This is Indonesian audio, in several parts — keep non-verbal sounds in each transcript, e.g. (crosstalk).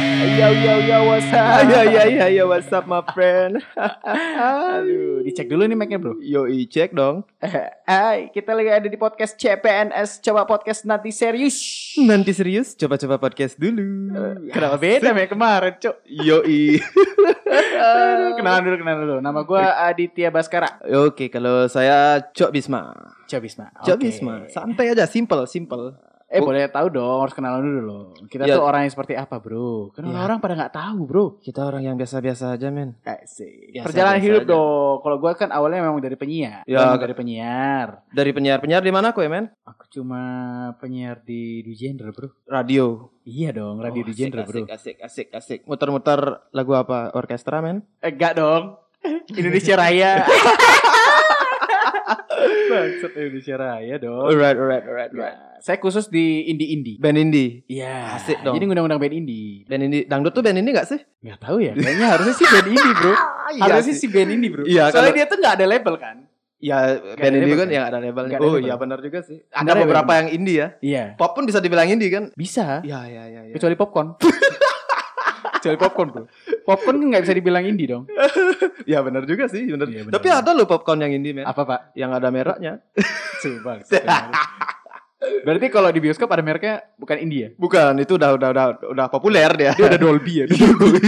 yo yo what's up? Yo yo yo yo iya, what's up my friend? Aduh, (laughs) dicek dulu nih mic-nya, Bro. Yo cek dong. Hai, kita lagi ada di podcast CPNS Coba Podcast Nanti Serius. Nanti serius coba-coba podcast dulu. Eh, Kenapa beda ya kemarin, Cok? Yo Aduh, kenalan dulu, kenalan dulu. Nama gua Aditya Baskara. Oke, kalau saya Cok Bisma. Cok Bisma. Cok Oke. Bisma. Santai aja, simple, simple. Eh, boleh tahu dong, harus kenalan dulu loh. Kita Ya. tuh orang yang seperti apa, Bro? Kan Ya. orang pada nggak tahu, Bro. Kita orang yang biasa-biasa aja, men. Asik. Biasa, Perjalanan biasa hidup aja. dong. Kalau gua kan awalnya memang dari penyiar. Ya, Memang Kak. dari penyiar. Dari penyiar-penyiar di mana kok, ya, men? Aku cuma penyiar di di genre, Bro. Radio. Iya dong, radio Oh, di genre, Bro. asik, asik, asik, asik. Muter-muter lagu apa? Orkestra, men? Eh, Enggak dong. (laughs) Indonesia Raya. (laughs) Maksud Indonesia Raya dong. Alright, alright, alright, Ya, Saya khusus di indie-indie. Band indie. Iya. Asik dong. Jadi ngundang-ngundang band indie. Band indie. Dangdut tuh band indie gak sih? Nggak tahu ya. Kayaknya harusnya sih band indie, (laughs) Bro. Harusnya Iya sih band indie, Bro. Iya, Soalnya kalau- dia tuh nggak ada label kan? Ya, ada band indie label kan kan? yang ada labelnya. Nggak ada oh label. iya benar juga sih. Nggak Ada ada beberapa label. yang indie ya. Iya. Pop pun bisa dibilang indie kan? Bisa. Ya ya ya. ya. Kecuali popcorn. Iya. (laughs) Kecuali popcorn, Bro. Popcorn kan nggak bisa dibilang indie dong. Ya benar juga sih, benar. Iya, benar. Tapi ada loh popcorn yang indie, men. (laughs) Apa, Pak? Yang ada mereknya. Coba. (laughs) Berarti kalau di bioskop ada mereknya bukan indie ya? Bukan, itu udah udah udah udah populer dia. Dia udah Dolby ya.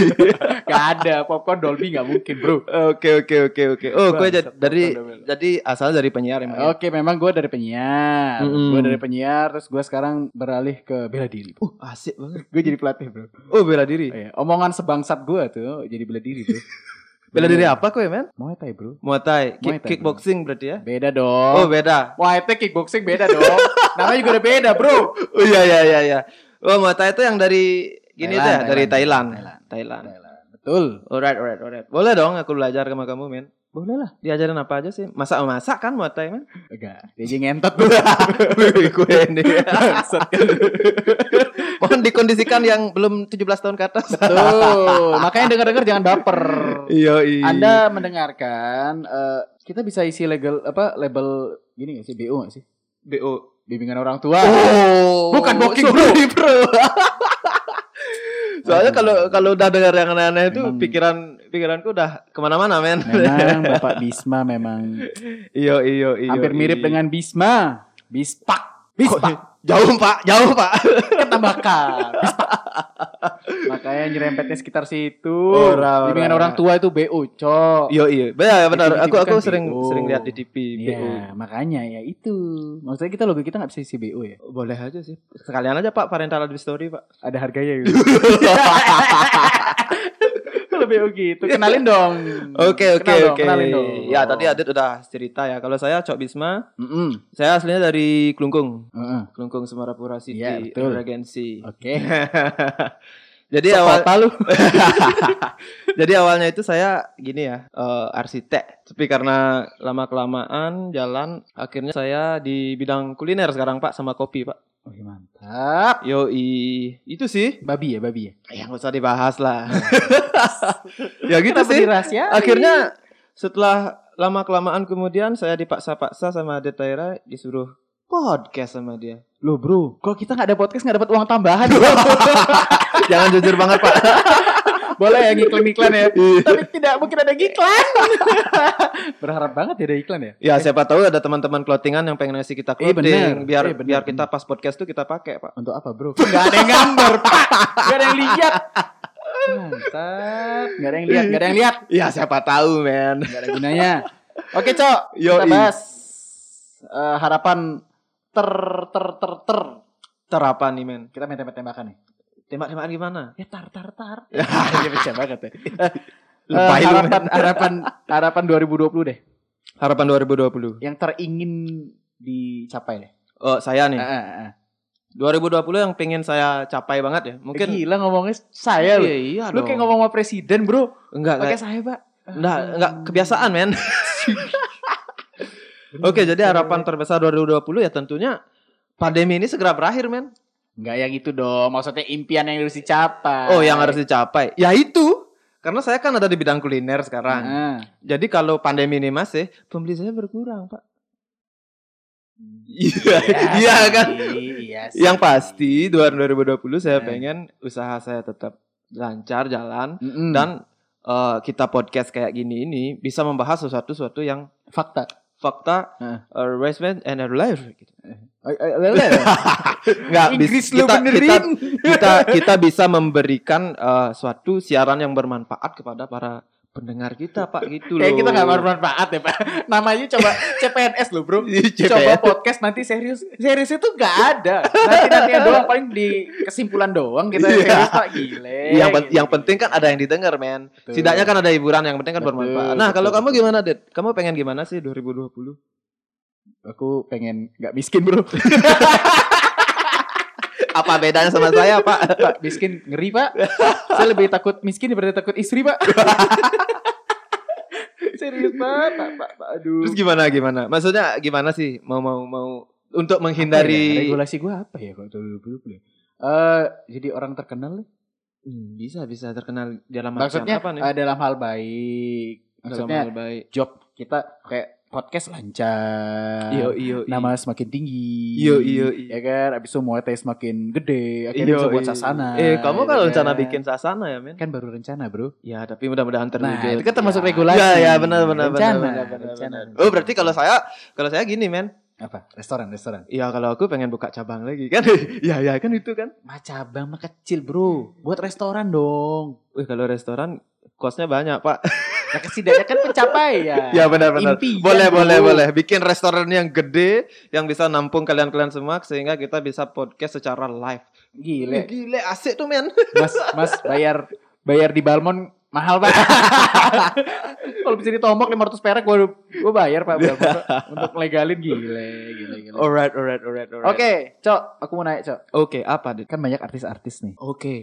(laughs) Gak ada popcorn Dolby nggak mungkin bro. (laughs) Oke oke oke oke. Oh, gue Bangsat, jadi dari popcorn double. jadi asal dari penyiar emang. ya? Oke, memang gue dari penyiar, Mm-mm. gue dari penyiar, terus gue sekarang beralih ke bela diri. Uh, asik banget. Gue jadi pelatih bro. Oh, bela Oh, diri. iya. Omongan sebangsat gue tuh jadi bela diri bro. Bela diri apa kok, ya, men? Muay Thai bro. (laughs) Muay Thai, Muay kick, Thai, kickboxing berarti ya? Beda Oh, dong. beda. Muay Thai kickboxing beda dong. Namanya juga udah beda bro. Oh iya iya iya iya. Oh, Muay Thai itu yang dari gini Thailand, aja, dari Thailand, Thailand. Thailand. Thailand. Betul. Alright, alright, alright. Boleh dong aku belajar sama kamu, men. Boleh lah. Diajarin apa aja sih? Masak masak kan Muay Thai, (laughs) men? Enggak. Dia aja ngentot (laughs) bro. Gue ini. (laughs) Mohon dikondisikan yang belum 17 tahun ke (laughs) atas. Tuh. Makanya denger-denger jangan baper. Iya, Anda mendengarkan eh, kita bisa isi legal apa label gini gak sih BO gak sih? BO. Bimbingan orang tua. Oh. Bukan booking, sorry, bro. (laughs) Soalnya Aduh. kalau kalau udah dengar yang aneh-aneh itu Emang- pikiran pikiranku udah kemana-mana men. Memang Bapak Bisma memang (laughs) Iya iya iya. hampir mirip iya. dengan Bisma. Bispak. Bispak. jauh pak, jauh pak. Ketabakan. Bispak. Makanya nyerempetnya sekitar situ. Ora, ora, Bimbingan orang ora. tua itu BO, Cok. Iya iya, benar benar. Di TV Aku aku kan sering BO. sering lihat di TV BO. Iya, makanya ya itu. Maksudnya kita logo kita nggak bisa isi BO ya. Boleh aja sih. Sekalian aja Pak parental advisory Pak. Ada harganya gitu. Kalau BO gitu, kenalin dong. Oke Kenal dong, oke oke. Kenalin dong. Oh. Ya tadi Adit udah cerita ya. Kalau saya Cok Bisma, Mm-mm. saya aslinya dari Kelungkung, Heeh. Kelungkung Semarapura City, Iya, betul. Regency. Oke. Jadi Sok awal kota lu. Jadi awalnya itu saya gini ya, eh, arsitek. Tapi karena lama kelamaan jalan, akhirnya saya di bidang kuliner sekarang Pak sama kopi Pak. Oke, mantap. Yoi, itu sih. Babi ya, babi ya. Ya nggak usah dibahas lah. (laughs) ya gitu Kenapa sih. dirahasiain? Akhirnya setelah lama kelamaan kemudian saya dipaksa-paksa sama Detaira disuruh podcast sama (laughs) dia. Loh bro, kalau kita nggak ada podcast nggak dapat uang (laughs) tambahan. Jangan jujur banget Pak. Boleh ya ngiklan-ngiklan ya. Tapi tidak mungkin ada iklan. (laughs) Berharap banget ya ada iklan ya. Ya siapa tahu ada teman-teman clothingan yang pengen ngasih kita Eh, clothing bener. biar Eh, bener, biar bener. kita pas podcast tuh kita pakai Pak. Untuk apa bro? Gak ada yang gambar pak. Gak ada yang lihat. Mantap. Gak ada yang lihat. Gak ada yang lihat. (laughs) Ya siapa tahu men. Gak ada gunanya. Oke cok. Kita Yoi. bahas eh, harapan ter ter ter ter. Terapan nih men. Kita main tembak-tembakan nih. Tembak-tembakan (laughs) gimana? Ya tar tar tar. Iya, Dia pecah banget ya. Eh, Lebay lu, harapan men. harapan harapan 2020 deh. Harapan 2020. Yang teringin dicapai deh. Oh, saya Ah, nih. ah, ah. 2020 yang pengen saya capai banget ya. Mungkin gila ngomongnya saya lu. Iya, iya Lu kayak ngomong sama presiden, Bro. enggak Pakai Hmm. kayak saya, Pak. enggak, enggak kebiasaan, men. Oke, jadi harapan terbesar 2020 ya tentunya pandemi ini segera berakhir, men. Enggak yang itu ya gitu dong. Maksudnya impian yang harus dicapai. Oh, yang harus dicapai. Ya itu. Karena saya kan ada di bidang kuliner sekarang. Ah. Jadi kalau pandemi ini masih, pembeli saya berkurang, Pak. Hmm. Iya, (laughs) Ya. iya sih, kan. Iya sih. Yang pasti 2020 saya Eh. pengen usaha saya tetap lancar jalan Mm-mm. dan eh, kita podcast kayak gini ini bisa membahas sesuatu sesuatu yang fakta. fakta Heeh. uh, harassment and life gitu. Ay- ay- (laughs) lele. Nggak, Inggris bis- lu kita, kita benerin. kita kita bisa memberikan eh, suatu siaran yang bermanfaat kepada para pendengar kita Pak gitu loh. Kayak kita gak bermanfaat ya Pak Namanya coba CPNS loh bro CPNS. Coba podcast nanti serius Seriusnya tuh gak ada Nanti-nantinya doang paling di kesimpulan doang Kita Iya. serius Pak gile gitu. yang, pen- gile. yang penting kan ada yang didengar men. Betul. Setidaknya kan ada hiburan yang penting kan Betul, bermanfaat. Nah, betul, kalau kamu betul. gimana, Dit? Kamu pengen gimana sih 2020? Aku pengen gak miskin bro Apa bedanya sama saya, Pak? (laughs) Pak miskin ngeri Pak Saya lebih takut miskin daripada takut istri Pak (laughs) Serius Pak, Pak, Pak, Pak. Aduh Terus gimana gimana? Maksudnya gimana sih mau mau mau untuk Apa ya, menghindari Regulasi gue apa ya kalau 2020 ya? Eh, Jadi orang terkenal Hmm, bisa bisa terkenal dalam macam Maksudnya apa nih? eh, dalam hal baik Dalam Maksudnya hal baik. job kita kayak podcast lancar. Iyo iyo. iyo. Nama semakin tinggi. Iyo, iyo, iyo. Ya kan, abis itu muay thai semakin gede, akhirnya bisa buat Yoi. sasana. Eh, kamu ya kalau kan? rencana bikin sasana ya, men? kan baru rencana, Bro. Ya, tapi mudah-mudahan terwujud. Nah, itu kan termasuk regulasi. Ya, ya, benar Rencana, benar benar, benar benar. rencana, benar. rencana. Oh, berarti kalau saya kalau saya gini, men. Apa? Restoran, restoran. Ya, kalau aku pengen buka cabang lagi kan. (laughs) ya, ya, kan itu kan. Mah cabang mah kecil, Bro. Buat restoran dong. Wih, kalau restoran kosnya banyak, Pak. (laughs) Nah, setidaknya kan pencapaian. ya, benar benar. Impian, Boleh, Bro. boleh, boleh. Bikin restoran yang gede yang bisa nampung kalian-kalian semua sehingga kita bisa podcast secara live. Gile. Gile, asik tuh, (laughs) men. Mas, Mas bayar bayar di Balmon mahal pak. (laughs) Kalau bisa ditomok 500 perak gue gue bayar pak Balmon Pak. untuk legalin gile gile gile. Oke, Alright, alright, alright, alright. Oke, cok, aku mau nanya cok. oke, apa, Dit? Kan banyak artis-artis nih. Iya. Oke.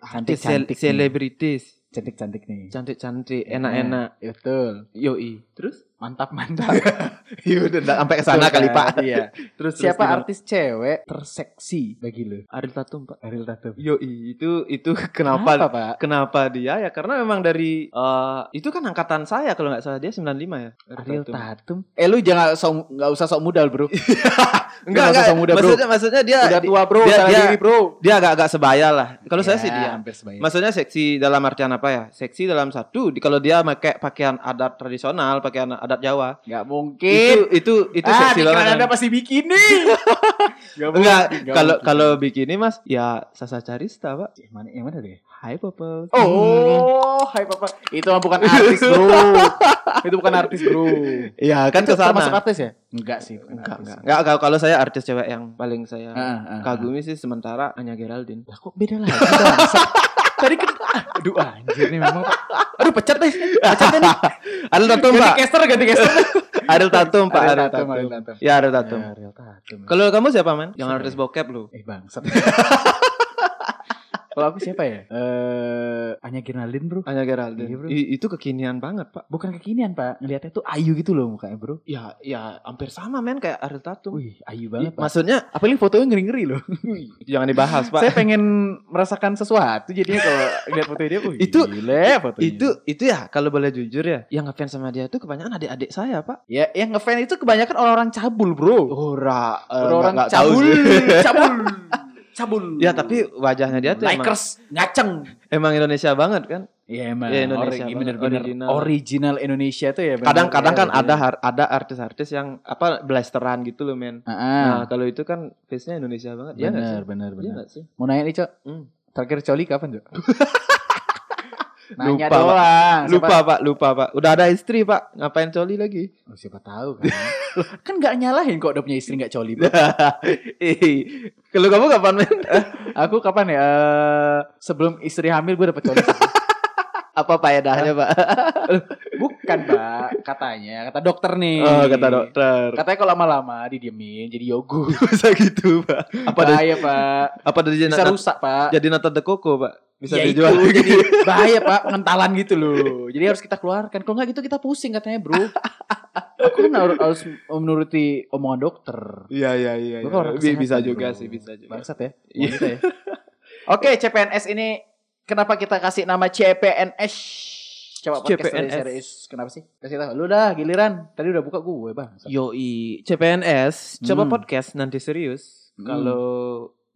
Cantik Sel- cantik Selebritis, cantik cantik nih. cantik-cantik, enak-enak. Nah, Betul. Yoi. Terus? Mantap mantap. Iya kan? udah nggak sampai ke sana kali Pak. Iya. Terus Siapa terus gimana? artis cewek terseksi bagi lu? Ariel Tatum Pak. Ariel Tatum. Yoi itu itu (laughs) Kenapa kenapa pak? Kenapa dia ya? Karena memang dari eh, itu kan angkatan saya kalau nggak salah dia 95 ya. Ariel Tatum. Iya, Eh lu jangan sok nggak usah sok muda bro. Enggak, Nggak enggak. usah muda, bro. maksudnya maksudnya dia Udah tua bro, dia- salah dia- diri bro. dia agak-agak sebaya lah. Kalau saya Ya, sih dia. hampir sebaya. Maksudnya seksi dalam artian apa ya? Seksi dalam satu, di- kalau dia pakai pakaian adat tradisional, pakaian adat Jawa, Gak itu mungkin. itu itu ah, seksi di banget. kanan Anda kan? pasti (laughs) bikini. Gak mungkin, Enggak, gak kalau mungkin. kalau bikini Mas, ya Sasa Carista, Pak. Yang Eh, mana, yang mana deh? Hai, Popel. Oh, hai papa. Itu mah bukan artis bro. (laughs) itu bukan artis bro. Iya kan Itu ke sana. Termasuk artis ya? Enggak sih. bukan Enggak, artis. ya. enggak. Enggak, kalau- kalau saya artis cewek yang Ah, paling saya ah, ah. kagumi sih sementara hanya Geraldine. Lah kok beda lagi bangsat? (laughs) Tadi kan (laughs) aduh anjir nih memang. Aduh pecat deh. Pecat deh. (laughs) nih. Ariel Tatum, Ganti Pak. caster, ganti caster. Ariel Tatum, Pak. Ariel Ariel Tatum, Tatum. Ariel Tatum. Ya, Ariel Tatum. Ya, Ariel Tatum. Kalau kamu siapa, man? Yang Siapa artis ya? bokep lu. Eh bangsat. Kalau aku siapa ya? Eh, Anya Gernalin bro. Hanya Geraldine. Iya, bro. I- itu kekinian banget, Pak. Bukan kekinian pak, ngelihatnya tuh ayu gitu loh mukanya bro. Ya, ya hampir sama, men kayak Ariel Tatum. Wih, ayu I- banget pak. Maksudnya Apalagi fotonya ngeri-ngeri loh. jangan dibahas, Pak. (laughs) Saya pengen merasakan sesuatu jadinya kalau lihat fotonya dia. Wih, Itu- gile fotonya. itu itu ya kalau boleh jujur ya yang ngefans sama dia itu kebanyakan adik-adik saya pak ya yang ngefans itu kebanyakan orang-orang cabul Oh, bro. ora orang-orang orang cabul, cabul, cabul. (laughs) ya tapi wajahnya dia tuh emang, Likers ngaceng. emang Indonesia banget kan Iya emang. Ya, Indonesia ori- banget, bener-bener original. original. Indonesia tuh ya. bener. kadang-kadang kan Iya, ada original. har- ada artis-artis yang apa blasteran gitu loh men Ah, nah kalau itu kan face-nya Indonesia banget ya nggak sih bener, bener, Iya bener. nggak sih Mau nanya nih, Cok. Hmm. Terakhir coli kapan, (laughs) Cok? Lupa, Pak. doang. lupa pak lupa pak udah ada istri pak ngapain coli lagi Siapa, oh, siapa tahu kan. (laughs) kan gak nyalahin kok udah punya istri gak coli. Bro. Eh, kalau kamu kapan men Aku kapan ya? Eh, sebelum istri hamil gue dapet coli. (laughs) Eh, apa faedahnya pak ya, Bukan, Pak. Katanya. Kata dokter nih. (laughs) oh kata dokter Katanya kalau lama-lama didiemin jadi yogur. bisa gitu pak (laughs) apa Nah, dari Bahaya, Pak. apa dari Bisa rusak, Pak. jadi nata de coco pak bisa Ya dijual itu, jadi bahaya pak pengentalan gitu loh jadi harus kita keluarkan kalau nggak gitu kita pusing katanya bro aku kan harus, harus menuruti omongan dokter (laughs) iya iya iya Gua iya. kan orang kesehatan, Bi- bisa juga bro. sih bisa juga bangsat ya Iya. wanita ya. oke CPNS ini kenapa kita kasih nama CPNS coba podcast dari CPNS. serius kenapa sih kasih tahu lu dah giliran tadi udah buka gue bang Yoi, CPNS, coba Hmm. podcast nanti serius. Hmm. Kalau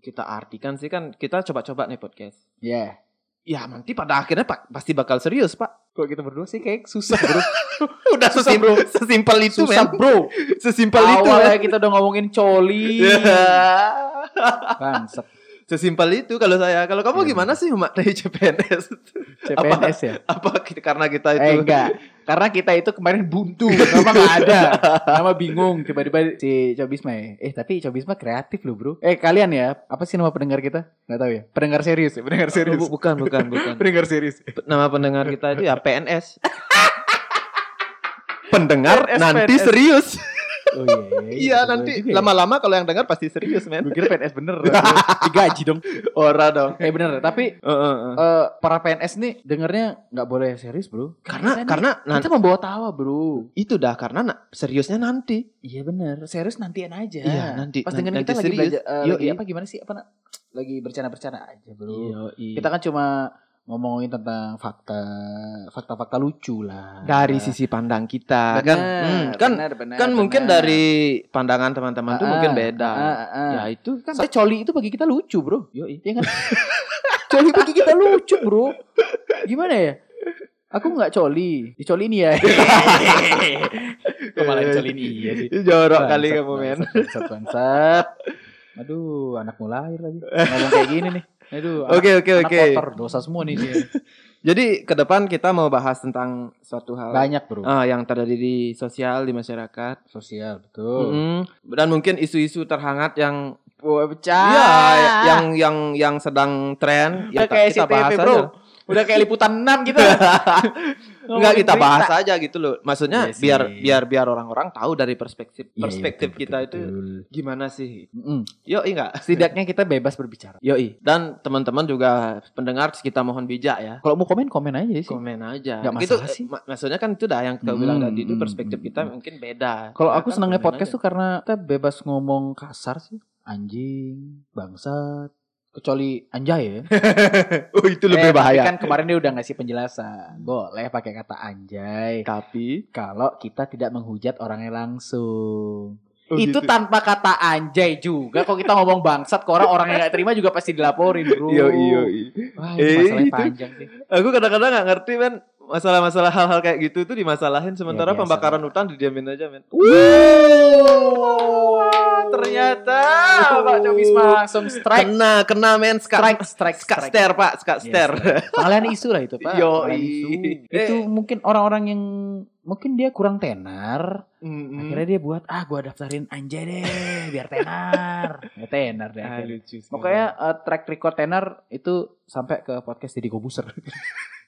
kita artikan sih kan kita coba-coba nih podcast. ya ya nanti pada akhirnya pak pasti bakal serius pak Kalau kita berdua sih kayak susah bro. (laughs) udah Susah, sesim- bro. sesimpel itu (laughs) susah men bro. sesimpel itu Awalnya men. kita udah ngomongin coli. Bangsat. sesimpel itu kalau saya kalau Iya. kamu gimana sih memaknai CPNS CPNS ya? (laughs) apa kita- karena kita itu Eh (laughs) enggak. Karena kita itu kemarin buntu, nama nggak ada, nama bingung. Tiba-tiba si Cobisma ya. Eh tapi Cobisma kreatif loh bro. Eh kalian ya, apa sih nama pendengar kita? Nggak tahu ya. Pendengar serius, ya? pendengar serius, Bu- bukan bukan bukan (laughs) pendengar serius. nama pendengar kita itu ya PNS (laughs) pendengar PNS. nanti serius Oh iya, ya. iya nanti lama-lama kalau yang dengar pasti serius men Gue kira PNS bener, (laughs) digaji dong. ora dong Eh bener, tapi Eh, eh, eh. eh, para PNS nih dengernya nggak boleh serius bro. karena Kita nih- karena nan- kita membawa tawa bro. itu dah karena na- seriusnya nanti Iya bener, serius nantian aja. Iya, nanti- Pas nanti- dengerin kita nanti lagi serius. belajar, eh, Yoi. lagi apa gimana sih? Apa nak? Lagi bercanda-bercanda aja bro. Iya. Kita kita kan cuma ngomongin tentang fakta, fakta-fakta lucu lah. Nah. dari sisi pandang kita kan Hmm, kan kan mungkin dari pandangan Ah, teman-teman itu mungkin beda ya itu kan iya Kan coli itu bagi kita lucu bro. Yo kan. (laughs) coli bagi kita lucu bro. Gimana ya? Aku nggak coli, dicolin (laughs) ya. Kok malah (laughs) dicolin iya sih. jorok Bangsat, kali kamu men bangsat, Bangsat, bangsat. Aduh, anak mau lahir lagi. Ngomong kayak gini nih. Aduh, anak- oke oke anak oke kotor, dosa semua nih dia. jadi ke depan kita mau bahas tentang suatu hal Banyak bro. ah, yang terjadi di sosial di masyarakat Sosial, betul. Mm-mm. dan mungkin isu-isu terhangat yang Wah, pecah. Iya, yang yang yang sedang tren Udah ya kayak kita SCTV, bahas bro. aja. Udah kayak liputan (laughs) 6 gitu. Enggak kita bahas aja gitu loh. Maksudnya Iya sih. biar biar biar orang-orang tahu dari perspektif iya, perspektif kita itu gimana sih. Yoi enggak? Setidaknya kita bebas berbicara. Yoi. Dan teman-teman juga pendengar kita mohon bijak ya. Kalau mau komen, komen aja sih. Komen aja. Nggak Itu, masalah sih. ma- maksudnya kan itu dah yang kita Hmm, bilang tadi itu hmm, perspektif hmm, kita hmm. mungkin beda. Kalau Ya aku kan, senangnya komen podcast aja. tuh karena kita bebas ngomong kasar sih. Anjing, bangsat, kecuali anjay ya. oh, itu Eh, tapi Kan kemarin dia udah ngasih penjelasan. Boleh pakai kata anjay Tapi kalau kita tidak menghujat orangnya langsung. Oh, itu gitu. tanpa kata anjay juga kok kita ngomong bangsat ke orang orang yang gak terima juga pasti dilaporin, Bro. Yoi, yoi. Wah, Eh, ini masalahnya itu. panjang sih. Aku kadang-kadang nggak ngerti men masalah-masalah hal-hal kayak gitu tuh dimasalahin sementara biasa. pembakaran hutan didiamin aja men. Wuh, ternyata Pak Comisma Oh. langsung strike. Kena kena men Ska- Strike, strike, Ska strike. Stair, Pak, Ska Yes, Stair. yes. Pengalihan isu lah itu, Pak. Yoi. Pengalihan isu. Itu Eh. mungkin orang-orang yang mungkin dia kurang tenar, Mm-mm. Akhirnya dia buat ah gua daftarin anjay deh biar tenar. (laughs) ya tenar deh. Ah, akhirnya. lucu sekali. Pokoknya eh, track record tenar itu sampai ke podcast Didi (laughs) Kobuser.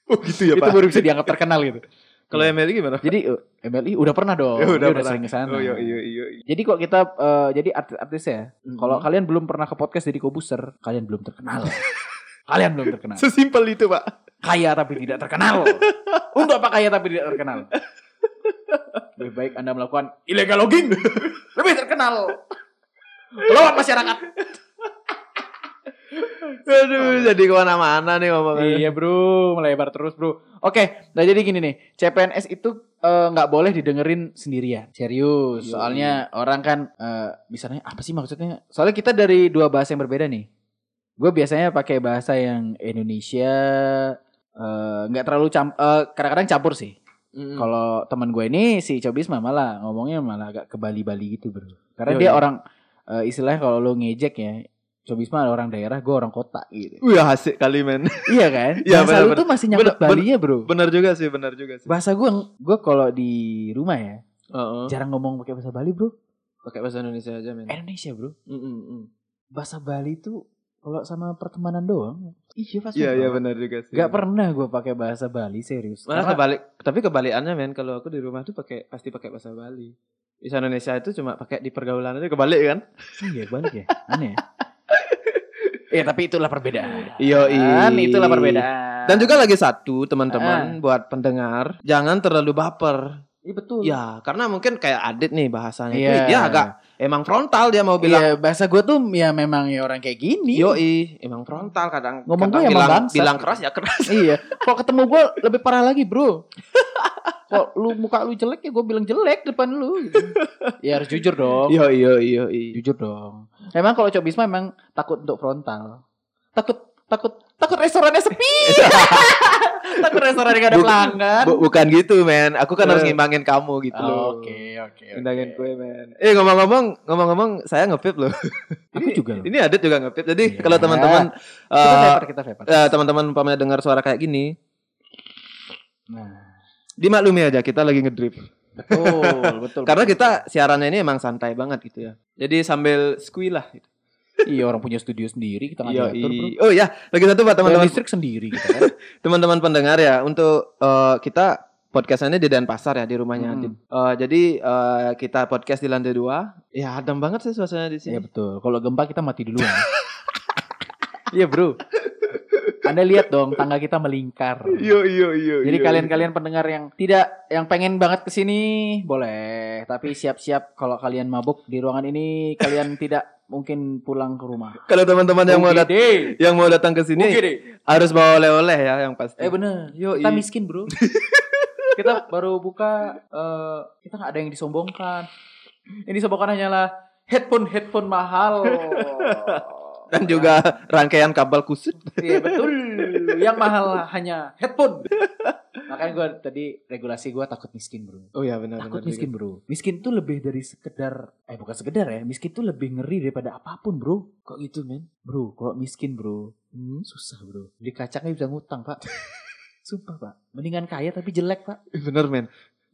oh gitu ya, itu Pak. baru bisa dianggap terkenal gitu. Kalau Emily gimana? Jadi eh, MLI udah pernah dong. Ya, dia udah, pernah. sering ke sana. Oh, iya iya iya. Jadi kok kita eh, jadi artis-artis ya. Kalau kalian belum pernah ke podcast Didi Kobuser, kalian belum terkenal. (laughs) kalian belum terkenal. (laughs) sesimpel itu, Pak. kaya tapi tidak terkenal. (laughs) Untuk apa kaya tapi tidak terkenal? Lebih baik Anda melakukan illegal (laughs) logging. Lebih terkenal. Lawan masyarakat. Aduh, jadi kemana mana nih ngomongnya. Iya bro, melebar terus bro. Oke, nah jadi gini nih, CPNS itu eh, nggak boleh didengerin sendirian. Serius, Iya. soalnya orang kan eh, misalnya apa sih maksudnya? Soalnya kita dari dua bahasa yang berbeda nih. Gue biasanya pakai bahasa yang Indonesia, eh, nggak terlalu camp, eh, kadang-kadang campur sih. Mm-mm. Kalau teman gue ini si Cobis mah malah ngomongnya malah agak ke Bali-Bali gitu bro. Karena Yo, ya. dia yo. orang eh, istilahnya kalau lo ngejek ya, Cobis mah orang daerah, gue orang kota gitu. (laughs) Wih, asik kali, men. iya kan? Bahasa Iya, lu benar-benar. tuh masih nyangkut Benar- Balinya bro. Benar juga sih, benar juga sih. Bahasa gue, gue kalau di rumah ya Heeh. jarang ngomong pakai bahasa Bali bro. Pakai bahasa Indonesia aja, men. Indonesia bro, Mm-mm-mm. bahasa Bali tuh kalau sama pertemanan doang. Iya pas. Iya, iya benar juga sih. Gak pernah gue pakai bahasa Bali serius. Malah Karena- kebalik, tapi kebalikannya men, kalau aku di rumah tuh pakai pasti pakai bahasa Bali. Di Indonesia itu cuma pakai di pergaulan aja kebalik kan? Iya balik ya (laughs) Aneh ya Ya tapi itulah perbedaan Yoi. Kan, Itulah perbedaan Dan juga lagi satu teman-teman buat pendengar, jangan terlalu baper. Iya betul Ya, karena mungkin kayak Adit nih bahasanya itu, Iya. dia agak emang frontal dia mau bilang. Iya, bahasa gue tuh ya memang ya orang kayak gini Iya. Yoi, emang frontal kadang Ngomong gue kadang emang bilang, bangsat. bilang keras ya keras. (laughs) Iya Kalau ketemu gue lebih parah lagi (laughs) bro Kalau lu muka lu jelek ya gue bilang jelek depan lu gitu. Ya harus jujur dong Yoi, yoi, yoi. Jujur dong Emang kalau Cobisma emang takut untuk frontal Takut Takut takut restorannya (laughs) sepi. takut restorannya gak ada Bu- pelanggan. Bu- bukan gitu men aku kan harus Eh. ngimbangin kamu gitu Oh, loh Oke, oke. oke. Ngimbangin gue men eh ngomong-ngomong ngomong-ngomong saya ngevip (laughs) loh Aku juga loh. ini ada juga ngevip jadi Iya. kalau teman-teman kita eh, vapor, kita vapor. eh, teman-teman umpamanya dengar suara kayak gini Nah. dimaklumi aja kita lagi ngedrip Betul, (laughs) betul, betul. karena kita siarannya ini emang santai banget gitu ya jadi sambil squee lah gitu. iya orang punya studio sendiri, kita nggak Iya, diatur, bro. i- oh ya lagi satu buat Bayar teman-teman listrik sendiri kita (laughs) kan. teman-teman pendengar ya untuk eh, kita podcastnya di Denpasar ya di rumahnya Mm. Adit. Eh, jadi eh, kita podcast di lantai dua. Ya adem banget sih suasana di Iya sini. betul. Kalau gempa kita mati duluan. Iya bro. (laughs) Anda lihat dong tangga kita melingkar. iyo iyo. Jadi kalian-kalian pendengar yang tidak yang pengen banget kesini boleh, tapi siap-siap kalau kalian mabuk di ruangan ini kalian tidak mungkin pulang ke rumah. kalau teman-teman yang mau datang deh. yang mau datang ke sini harus bawa oleh-oleh ya yang pasti. Eh bener. Yoi. Kita miskin bro. (laughs) kita baru buka. eh, kita nggak ada yang disombongkan. Yang disombongkan hanyalah headphone headphone mahal. (laughs) Dan juga rangkaian kabel kusut. Iya betul. Yang mahal hanya headphone. Makanya gue tadi regulasi gue takut miskin bro. Oh ya benar. Takut (laughs) miskin bro. Miskin tuh lebih dari sekedar, eh bukan sekedar ya. Miskin tuh lebih ngeri daripada apapun bro. Kok gitu men? Bro, kalau miskin bro, hmm, susah bro. Beli kacangnya bisa ngutang pak. (laughs) Sumpah pak. Mendingan kaya tapi jelek pak. Bener men.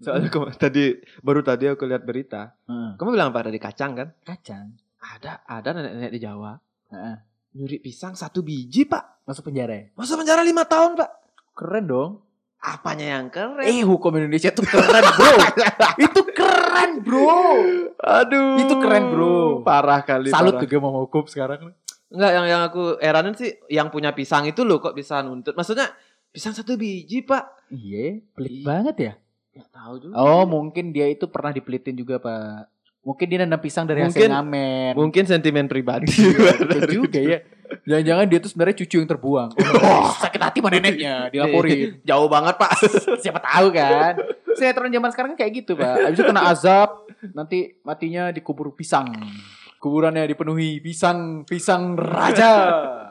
Soalnya Hmm. kema- tadi baru tadi aku lihat berita. Heeh, Kamu bilang apa tadi kacang kan? kacang. Ada ada nenek-nenek di Jawa Heeh. nyuri pisang satu biji pak. Masuk penjara ya? Masa penjara lima tahun pak? Keren dong. Apanya yang keren? Eh hukum Indonesia tuh keren bro. (laughs) Itu keren bro. (laughs) Aduh. Itu keren, bro. Parah kali. Salut parah. juga mau hukum sekarang. Enggak yang yang aku heranin sih yang punya pisang itu loh kok bisa nuntut. Maksudnya pisang satu biji, Pak. Iya, pelit Iya. banget ya. Enggak tahu juga. Oh, mungkin dia itu pernah dipelitin juga, Pak. Mungkin dia nanam pisang dari hasil Mungkin- ngamen. mungkin sentimen (laughs) pribadi. Betul juga ya. Jangan-jangan dia tuh sebenarnya cucu yang (laughs) terbuang. Oh, sakit hati sama neneknya, (laughs) dilaporin. (laughs) Jauh banget, Pak. Iya. Siapa tahu kan. Sinetron zaman sekarang kan kayak gitu, Pak. Habis itu kena azab, nanti matinya dikubur pisang. Kuburannya dipenuhi pisang, pisang (laughs) raja.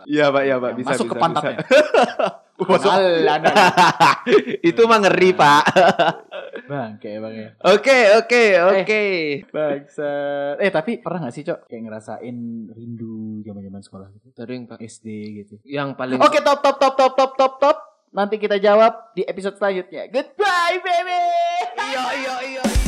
Iya, Pak, iya, Pak, Yang bisa masuk bisa, ke pantatnya. (laughs) bisa. Masuk. Alah, alah. (laughs) (laughs) itu mah ngeri, Pak. Bang, kayak bang ya. Oke, oke, oke. Bangsa. Eh tapi pernah gak sih cok kayak ngerasain rindu zaman zaman sekolah gitu, Sering, Pak. SD gitu. Yang paling Oke top top top top top top top. Nanti kita jawab di episode selanjutnya. Goodbye baby. iya, iya, iya.